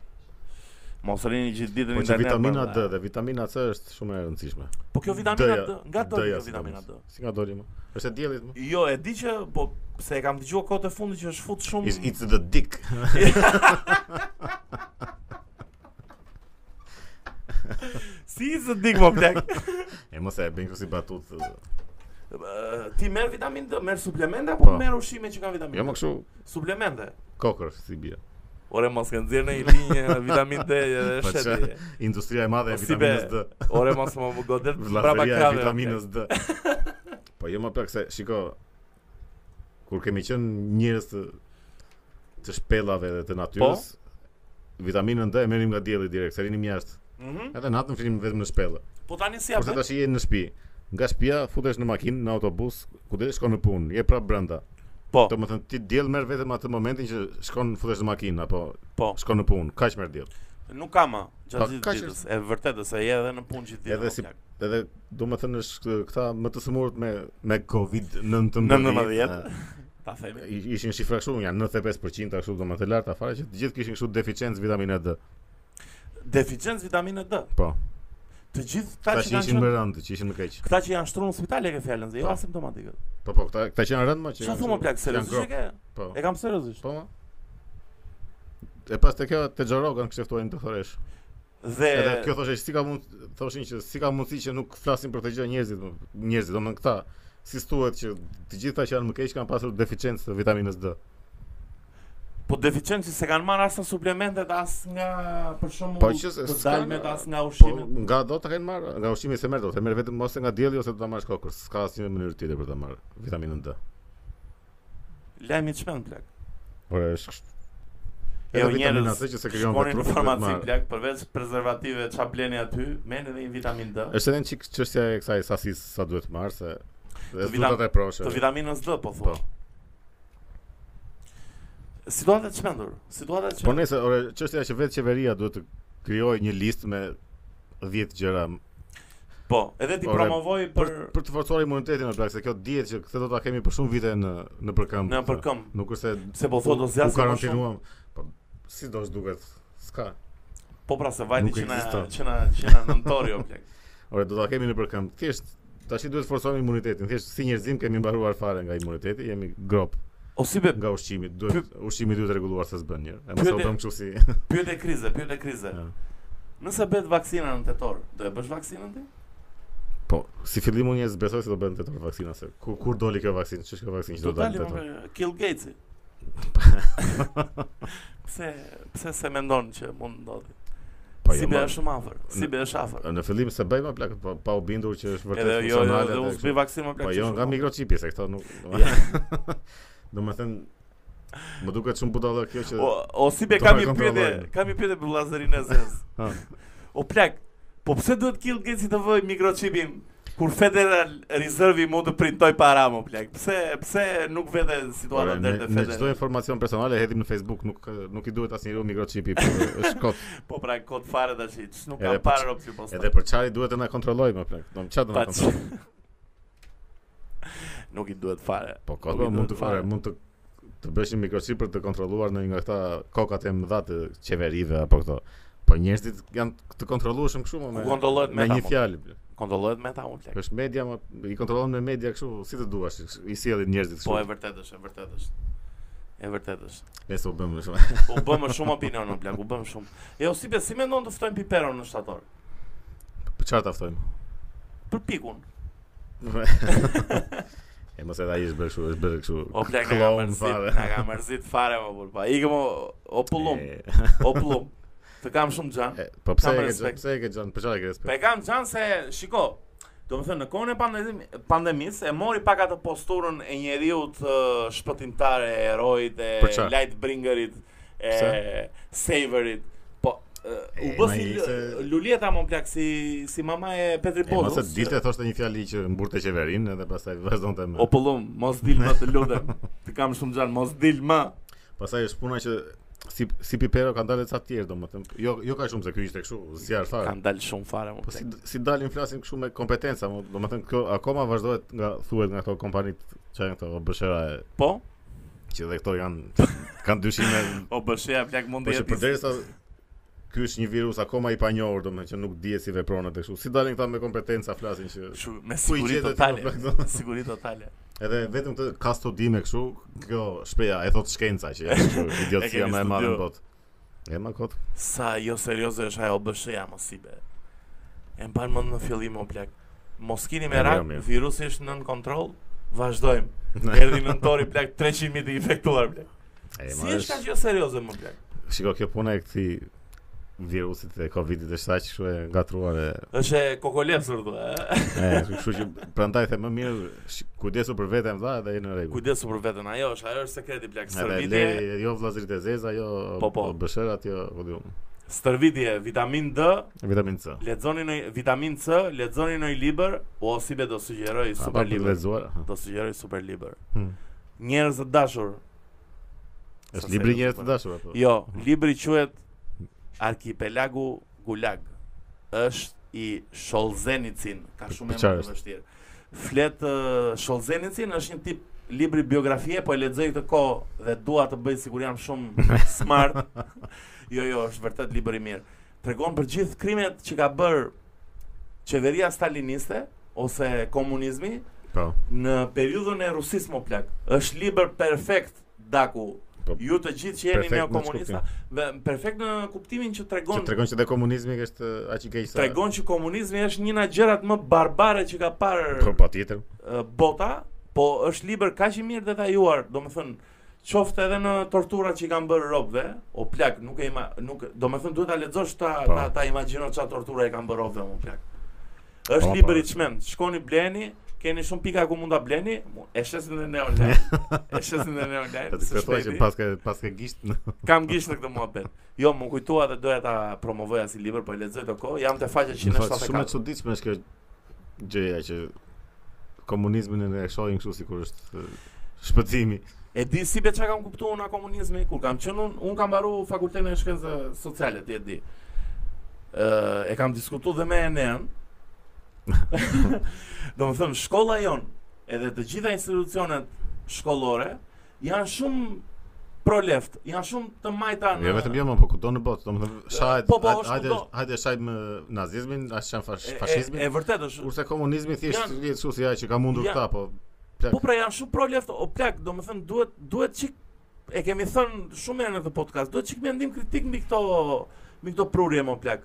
Mos rini gjithë ditën Po që internet, vitamina bërë, D dhe vitamina C është shumë e rëndësishme. Po kjo vitamina D-ja- D, nga do D-ja kjo si vitamina D. Si nga doli më? Është e diellit më? Jo, e di që po se e kam dëgjuar kohët e fundit që është fut shumë It's, it's the dick. si të dik më plak. e mos e bën kësi batut. Ë, Ti merr vitaminë D, merr suplemente apo Po. merr ushqime që kanë Jo vitaminë? më kështu Suplemente. kokër si bie. Ore mos kanë nxjerrë në një linjë vitaminë D dhe Po shëti. Industria e madhe e Po Si be, vitaminës D. Ore mos më godet brapa Vllazeria e krave. vitaminës D. Po jo më plak se shiko kur kemi qenë njerëz të të shpellave dhe të natyrës, vitaminën D e merrim nga dielli direkt, se rinim jashtë. Po? Mhm. Edhe natën flim vetëm në shpellë. Po tani si Kurse apo? tash je në shtëpi. Nga shtëpia futesh në makinë, në autobus, ku do shkon në punë, je prapë brenda. Po, Do të thënë ti diell merr vetëm atë momentin që shkon futesh në makinë apo po. shkon në punë, kaq merr diell. Nuk kam më Po, gjatë gjithë kaq ditës. E vërtetë se je edhe në punë gjithë ditën. Edhe o si- plak. Edhe do të thënë është kë- këta më të smurët me me COVID-19. 19. ta themi. I- Ishin shifra kështu, janë 95% kështu do më të lartë afare që të gjithë kishin kështu deficiencë vitamina D. Deficiencë vitaminë D. Po. Të gjithë ta Këta që që kanë ishin qenë më rëndë, që ishin më keq. Këta që janë shtruar në spital e ke fjalën, se jo Po. asimptomatikët. Po po, këta këta që janë rëndë më që. Çfarë janë thua më kështu, plak janë seriozisht grop. e ke? Po. E kam seriozisht. Po. ma. E pas të kjo te Xhorogan kishte ftuar një doktoresh. Dhe Edhe kjo thoshe si ka mund thoshin që si ka mundësi që nuk flasin për këtë gjë njerëzit, më- njerëzit, domethënë këta si thuhet që të gjitha që janë më keq kanë pasur deficiencë të vitaminës D. po deficiencë se kanë marrë as nga suplementet as nga për shembull Po, që se të s'ka- dalmet as nga Po ushqimet. nga do ta kenë marrë, nga ushqimi se merr do, të merr vetëm ose nga dielli ose do ta marrësh kokër, s'ka asnjë mënyrë tjetër për ta marrë vitaminën D. Lajmi të shpend plak. Por është kështu. Edhe Jo, vitamina njerëz, C që se krijon Shkoni në vetë farmaci marrë. plak përveç prezervative ç'a bleni aty, merrni edhe një vitaminë D. Është edhe një çik çështja e kësaj sasisë sa duhet marrë se dhe Të s'duhet vitam- ta proshë. Të vitaminës D po Po. thua. Situata e çmendur, situata e Po çmendur. nëse, ore, çështja që vetë qeveria duhet të krijojë një listë me 10 gjëra Po, edhe ti Ore, promovoj për për për të forcuar imunitetin në plak, se kjo dihet që këtë do ta kemi për shumë vite në në përkëmb. në përkëm. Nuk është se Se po thua do po- u zgjasim. më shumë. karantinuam. Po si do të duket? S'ka. Po pra se vajti Nuk që na ekziston. që na që na nëntori o plak. Ore, do ta kemi në përkëmb. Thjesht tash duhet të forcojmë imunitetin. Thjesht si njerëzim kemi mbaruar fare nga imuniteti, jemi grop O si be nga ushqimi. Duhet ushqimi duhet të rregulluar se s'bën njerë. E mos e Pyetje- bëm kështu si. pyet e krize, pyet e krize. Ja. Nëse bëhet vaksina në tetor, do e bësh vaksinën ti? Po, si fillim unë njerëz besoj se do bën tetor vaksina se ku kur doli kjo vaksinë? Ç'është kjo vaksinë që do dalë më tetor? me Kill Gatesi. pse pse se mendon që mund ndodhi? Po, si jo, be ma- është shumë afër, si në- be është afër. Në fillim se bëj më plak, po, pa, pa u bindur që është vërtet Edhe jo, jo, funksionale. dhe edhe unë kështu. s'bëj vaksinë më plak. Po jo, që nga shumë. mikroçipi se këto nuk. Do të thënë më duket shumë budalla kjo që O, o si be Do kam ta një pyetje, kontrollojmë. kam një pyetje për Llazerin e Zez. Ha. o plak, po pse duhet Kill Gatesi të vëj mikrochipin kur Federal Reserve i mund të printoj para më plak? Pse pse nuk vete situata Ore, deri Po, ne te ne çdo Federal? informacion personal e hedhim në Facebook, nuk nuk i duhet asnjëri mikroçipi, po është kot. Po pra kod fare tash, që nuk Edhe kam po parë opsi posta. Edhe për çari duhet të na kontrolloj më plak. Do çfarë do na Pa që- kontrolloj? Nuk i duhet fare. Po kot, Nuk i po, mund duhet të fare, fare. mund të të bësh një mikroçip për të kontrolluar në një nga këta kokat e mëdha të qeverive apo këto. Po njerëzit janë të kontrollueshëm kështu më Ku me kontrollohet me meta, një mo? fjalë. plak. Kontrollohet me ta unë plak. Është media, më, i kontrollon me media kështu si të duash, i sjellin njerëzit kështu. Po e vërtet është, e vërtet është. E vërtet është. Nëse u bëm më shumë. U bëmë shumë opinion në plak, u bëmë shumë. E o si be, si mendon të ftojmë Piperon në shtator? Për Po, çfarë ta ftojmë? Për pikun. e mos edhe ai është bërë kështu, është bërë kështu. O plak nga clown mërzit, fare. nga ka mërzit fare më burpa. Ikëm o, o pullum, E, o pullum. Të kam shumë gjanë. e, Po pse Kam e ke respekt. gjon, pse e ke gjon, për çfarë e ke Pe respekt? kam gjanë se, shiko, do më thënë, në kohën e pandemi, pandemisë, e mori pak atë posturën e njeriu të shpëtimtare, e erojit, Për e çfarë? lightbringerit, e Pse? saverit. Po, e, E, u bë ma si i lu- se- luleta më plak si si mama e Petri E mos Pozës. e dilte thoshte një fjali që mburte qeverinë edhe pastaj vazhdonte O më. pullum, mos dil më të lutem. Të kam shumë gjanë, mos dil më. Pastaj është puna që si si Pipero kanë dalë ca të tjerë domethënë. Jo jo ka shumë se ky ishte kështu zjarr fare. Kan dalë shumë fare më Po plak. si si dalin flasin kështu me kompetenca, mo- domethënë kjo akoma vazhdohet nga thuhet nga ato kompanitë që janë këto bëshëra e Po, që dhe këto janë kanë dyshime o bëshia plak mund Po të që jetë. përderisa Ky është një virus akoma i panjohur, domethënë që nuk dihet si vepron atë kështu. Si dalin këta me kompetenca flasin që Shu, me Ku i siguri gjetet ti, totale. po, plak, do? siguri totale. edhe vetëm këtë ka studime kështu, kjo shpreha e thot shkenca që është kështu E idiotësia kemi më e madhe studiu. në botë. E ma kot. Sa jo serioze është ajo BSH-ja mos i be. E mban mend në fillim o plak. Mos keni me E, rak, mirë, mirë. virusi është nën kontroll. Vazhdojmë. Erdhi nëntori plak 300.000 të infektuar plak. E Si ma është është. kaq jo serioze më plak? Shiko kjo puna e këtij virusit e Covidit është saq kështu e ngatruar e Është e kokolesur thua. e? e kështu që prandaj them më mirë shi- kujdesu për veten vlla dhe jeni në rregull. Kujdesu për veten, ajo është, ajo është sekreti plak. Edhe Stërvitje, leri, jo vllazërit e zeza, jo Po, po. bëshërat, jo, ku diun. stërvitje, vitamin D, Vitamin C. lexoni në vitamin C, lexoni në një libër, o si be do sugjeroj A, super Po. pa, për të libër. lexuar, aha. Do sugjeroj super libër. Hmm. Njerëz të dashur. Është Sa libri serioze, njerëz të po. dashur apo? Jo, libri quhet Arkipelagu Gulag. Është i Sholzenicin, ka shumë Për emër çfarë të është? vështirë. Flet uh, Sholzenicin është një tip libri biografie, po e lexoj këtë kohë dhe dua të bëj sigur jam shumë smart. jo, jo, është vërtet libër i mirë. Tregon për gjithë krimet që ka bërë qeveria staliniste ose komunizmi Po. në periudhën e Rusisë më plak. Është libër perfekt Daku. Po, Ju të gjithë që jeni perfekt në neokomunista, dhe perfekt në kuptimin që Që tregon tregon që dhe komunizmi është eh, aq i keq sa. tregon që komunizmi është një nga gjërat më barbare që ka parë Po patjetër. e, bota, po është libër kaq i mirë detajuar, domethënë qoftë edhe në torturat që i kanë bërë robëve, o plak, nuk e ima, nuk, domethënë duhet ta lexosh ta Po. ta, ta imagjino çfarë tortura i kanë bërë robëve, o plak. Është Po, libër po. i çmend, shkoni bleni, keni shumë pika ku mund ta bleni, mu- e shesin dhe ne online. E shesin dhe ne Atë online. së të thua që shpejti. pas ka pas ka gisht. në- Kam gisht në këtë muhabet. Jo, më kujtua dhe doja ta promovoja si libër, po e lexoj të kohë. Jam te faqja Në fakt shumë e 174. çuditshme është kjo gjëja që komunizmin e shohim kështu sikur është eh, shpëtimi. E di si be çka kam kuptuar unë nga komunizmi, kur kam qenë unë, unë kam mbaru fakultetin e shkencave sociale, ti e di. Ë, e kam diskutuar dhe me Enen. Domethënë shkolla jon, edhe të gjitha institucionet shkollore janë shumë pro left, janë shumë të majta në Jo vetëm jo, më, po kudo në botë, domethënë shahet Po, po, hajde- është hajde kudo. hajde shahet me nazizmin, as shan fash, E- e- fashizmin. E, vërtet është. Kurse komunizmi thjesht Janë- vjet kështu si ajo që ka mundur Janë- këta, po Po pra janë shumë pro left o plak, do më thënë duhet, duhet qik, e kemi thënë shumë herë në këtë podcast, duhet qik me ndim kritik mbi këto, mbi këto prurje më plak.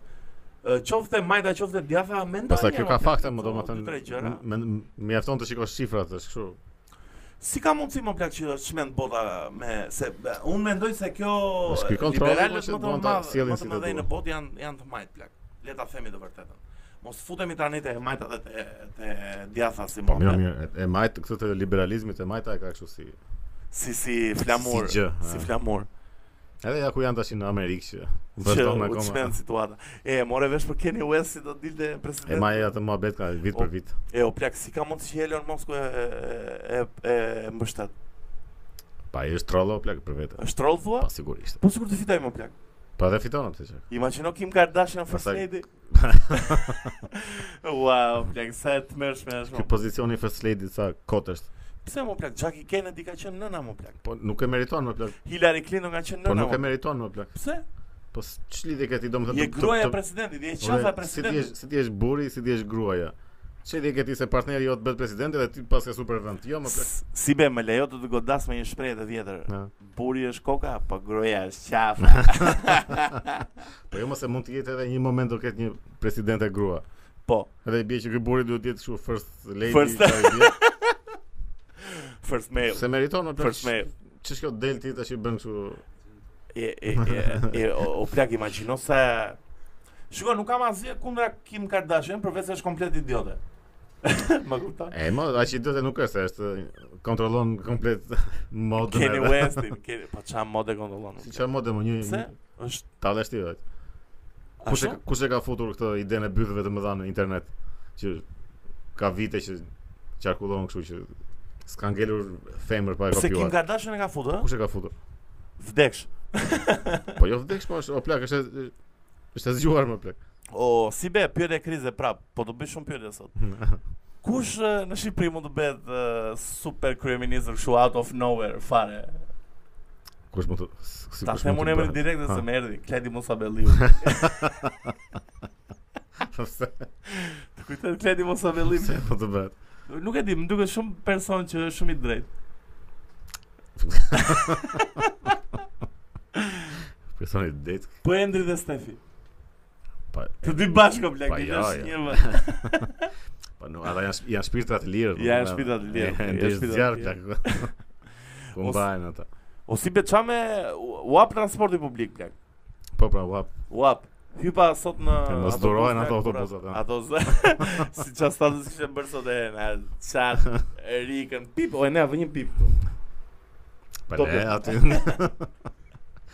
Ë, Qofte majta, qofte djatha, mendoj. Pastaj kjo njëra, ka plak, fakte, më këto po, dy, tre gjëra. domethënë m- mjafton të shikosh shifrat, është kështu. Si ka mundësi më plak që është shmend bota me se e, unë mendoj se kjo Mos e, ky kontrolli, po, liberalët që më të duan ta madh, sjellin më si të të mëdhenj duan. në botë janë janë të majt plak. Le ta themi të vërtetën. Mos futemi tani te majta dhe te te djatha si Po më. mirë, plak. mirë, e- e majt këtë të liberalizmit, e majta e ka kështu si. Si si flamur, Si gjë, si ha. flamur. Edhe ja ku janë tash në Amerikë që Që vazhdon u të akoma. shmenë situata E, more vesh për Kanye West si do të dilte E president ma e atë muhabet ka vit për vit. E, o plak, si ka mund që Elon Musk e, e, e, e, e mbështet Pa i është trollo plak për vete. është troll thua? Pa sigurisht. Po sikur të fitoj më plak Pa dhe fiton atë që. Imagino Kim Kardashian first Pastaj- lady Wow, plak, sa e të mërshme është Ky më pozicioni i first lady sa kot është. Pse më plak, Jackie Kennedy ka qenë nëna më plak Po nuk e meriton më plak. Hillary Clinton ka qenë Po nëna nuk e më plak meriton më plak. Pse? Po s- ç'lidhje ke ti domethënë? Je të- të- gruaja e të- presidentit, je Ore, qafa e Si ti je presidentit si ti je burri, si ti je gruaja. Ç'lidhje ke ti se partneri jot bëhet presidenti dhe ti pas ke super vend. Jo më plak. S- Si be, më lejo të të godas me një shprehje të vjetër Na. Buri është koka, po gruaja është qafa. Po jo mos e mund të jetë edhe një moment do ketë një presidente grua. po, Edhe i bie që ky burri duhet të jetë kështu first lady. First- çfarë i bie. first male. Se meriton më plak. First male. Ç'është kjo del ti tash i bën kështu E, e, e, e, o, o plak imagjino se Shiko, nuk kam asgjë kundra Kim Kardashian, përveç se është komplet idiote. Më kupton? E, më, aq i dëtë nuk është, është kontrollon komplet modën. Kanye edhe. Westin, Kanye, po çfarë mode kontrollon? Si çfarë modë më një Pse? Është tallesh ti vetë. Kush e ashtu? ka- kush e ka futur këtë idenë e bythëve të mëdha në internet që ka vite që qarkullon kështu që s'ka ngelur femër pa e Pse Kim kopjuar. Kardashian e ka futur, ë? Kush e ka futur? Vdeksh. Po jo vdeksh, po është o plak, është e- është e zgjuar më plak. O, si be, pyetje krize prap, po do bëj shumë pyetje sot. Kush ë, në Shqipëri mund të bëhet ë, super kryeminist kështu out of nowhere fare? Kush mund të s- si Ta kush them mund të unë emrin bëhet? direkt dhe Ha. se më erdhi. Kledi Mosabelliu. Pse Të Kujtet Kledi Mosabelliu. pse mund të bëhet? Nuk e di, më duket shumë person që është shumë i drejtë. Personi det Po Endri dhe Stefi. pa Të dy bashkë blaq, Pa, i ja, dash ja. një më. pa no, ata Po, janë janë shpirtra të lirë. Janë shpirtra të lirë, janë Janë shpirtra të zjarr lirë. plak. Kombajnë ata. O si beqa me u- uap transporti publik blaq. Po pra, u hap. Uap. Hypa sot në E, mos autobus, durojnë blaq, ato kur- autobusat, ha. Ato z- si çfarë status kishte bërë sot e na çat rikën pip o e na vë një pip. Pa Top le lirë. aty.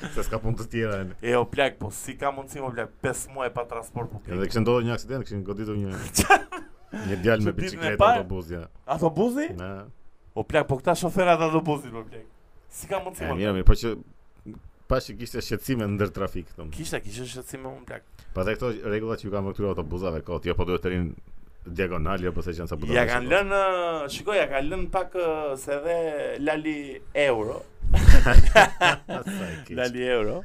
Se s'ka punë të tjera. e ne. E o plak, po si ka mundësi më plak 5 muaj pa transport publik. Edhe kishte ndodhur një aksident, kishin goditur një një djalë me Që ditën e biçikletë parë? autobus ja. Autobusi? Na, O plak, po këta shoferat autobusit më plak. Si ka mundësi e më? mira, plak? mirë, po që pa që kishte shqetësime ndër trafik këtu. Kishte kishte shqetësime më plak. Pastaj këto rregulla që ju kanë këtyre autobusave kot, jo po duhet të rinë diagonal, jo po se janë sa buta. Ja kanë lënë, ë, shikoj, ja kanë lënë pak ë, se dhe Lali Euro. lënë. Lali Euro.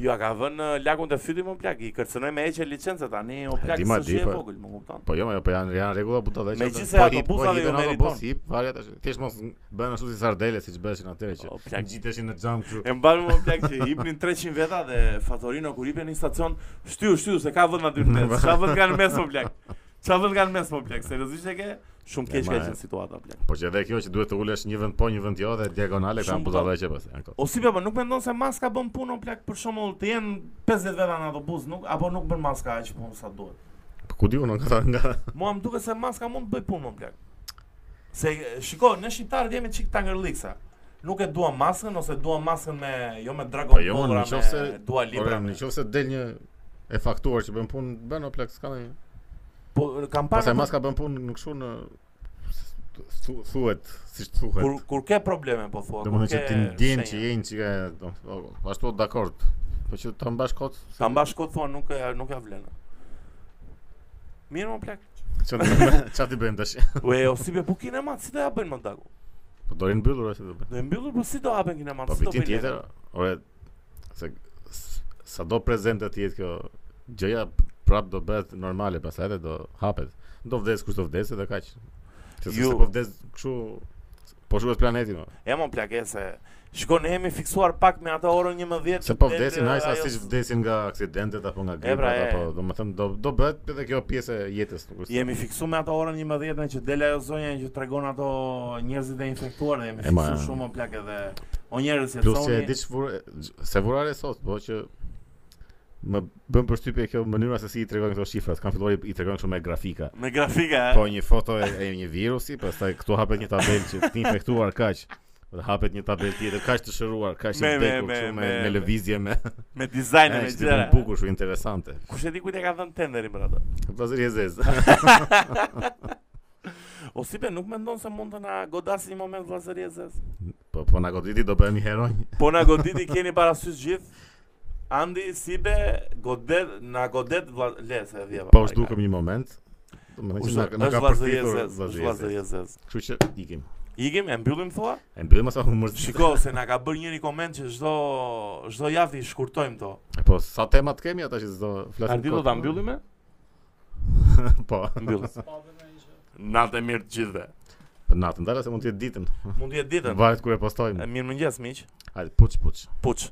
Ju a ka vënë ë, lagun të fyty më plak, i kërcënoj me heqje licencë tani, o plak di, ma së di, shi e po. vogël, më kupton? Po jo, ma, po janë janë rregulla buta dhe. Megjithse po autobusave ju meriton. hip, varet tash. Thjesht mos bën ashtu si sardele siç bëheshin atëherë që O plak, ngjiteshin në xham kështu. E mban më plak që hipnin 300 veta dhe Fatorino kur hipen në stacion, shtyu, shtyu se ka vend aty në mes. Çfarë vend kanë në mes më plak? Çfarë vend kanë në mes më plak? Seriozisht e ke? Shumë keq E, ka ma, e. qenë situata plak. Po që edhe kjo që duhet të ulesh një vend po, një vend jo dhe diagonale Shumë po. kanë buta. buta dhe që pas. janë kot. O si po, nuk mendon se maska bën punë o plak për shembull të jenë 50 veta në autobus, nuk apo nuk bën maska aq punë sa duhet. Po ku diun nga nga Mua më duket se maska mund të bëj punë më plak. Se shiko, ne shqiptarët jemi çik tangërliksa. Nuk e duam maskën ose duam maskën me jo me Dragon Po jo, Ball, në me qoftë se- Dua Ora, Lipa. me- në qoftë se del një e faktuar që bën punë, bën o plak s'ka ndonjë. Po kam parë Pastaj maska bën punë në kështu në thu- thuhet, siç thuhet. Kur kur ke probleme po thua, Do kur më ke që ti ndjen që shenja. jenë që ka... do- o, Ashtu dakord. Po që ta mbash kot... Ta mbash kot thua nuk e nuk ja vlen. Mirë më plak. Që qa ti bëjmë tash? Ue, o si be po kinemat, si do ja bëjnë më dagu? Po do rinë bëllur ashtu do bëjmë. Do e mbyllur po si do hapen kinemat, Po si do vitin bëjnë? tjetër, ore... Se... s- Sa do prezente të jetë kjo... Gjëja prap do bëhet normale pastaj edhe do hapet. Do vdes kush do vdes edhe kaq. Që se Ju- se po vdes kështu... Po shuhet planeti më. E më plak e se Shko ne jemi fiksuar pak me atë orën 11 Se po del, vdesin e, hajsa ajo siç s- vdesin nga aksidentet apo nga E, pra, gripat e. apo domethënë do do bëhet edhe kjo pjesë e jetës, nuk është. Jemi fiksu me ato orën 11 që del ajo zonja që tregon ato njerëzit e infektuar dhe jemi E, ma, e. fiksu shumë më plak edhe O njerëz që Plus që e thoni di që vur, se vurare sot, po që më bën përshtypje kjo mënyra se si i tregojnë këto shifra, kanë filluar i- i tregojnë kështu me grafika. me grafika e? Po një foto e, e një virusi, pastaj këtu hapet një tabelë që ti infektuar kaq, dhe hapet një tabelë tjetër kaq të shëruar, kaq të Me- me- vdekur me- kështu me, me- me lëvizje me. me dizajne Ai me është gjëra. një bukur shumë interesante. Kush e di kujt e ka dhënë tenderin për ato? Vllazëri e zezë. O si be, nuk mendon se mund të na godasi një moment vllazëri e zez. Po po na goditi do bëhemi heronj. Po na goditi keni parasysh gjithë. Andi si be godet na godet vla- le se e dhjeva. Po zhdukëm një moment. Domethënë që Ushtë, na na është ka vllazëri e përfitur zez, është vllazëri. vllazëri e zez. Kështu që ikim. Ikim e mbyllim thua? E mbyllim asa humor. Shiko se na ka bërë njëri koment që çdo çdo javë i shkurtojmë to. Po sa tema të kemi ata që do flasim. Andi do kot. ta mbyllim e? Po. Mbyllim. Natë e mirë të gjithëve. Për natën, ndala se mund të jetë ditën. Mund të jetë ditën. Varet kur e postojmë. Mirëmëngjes miq. Hajde, puç puç. Puç.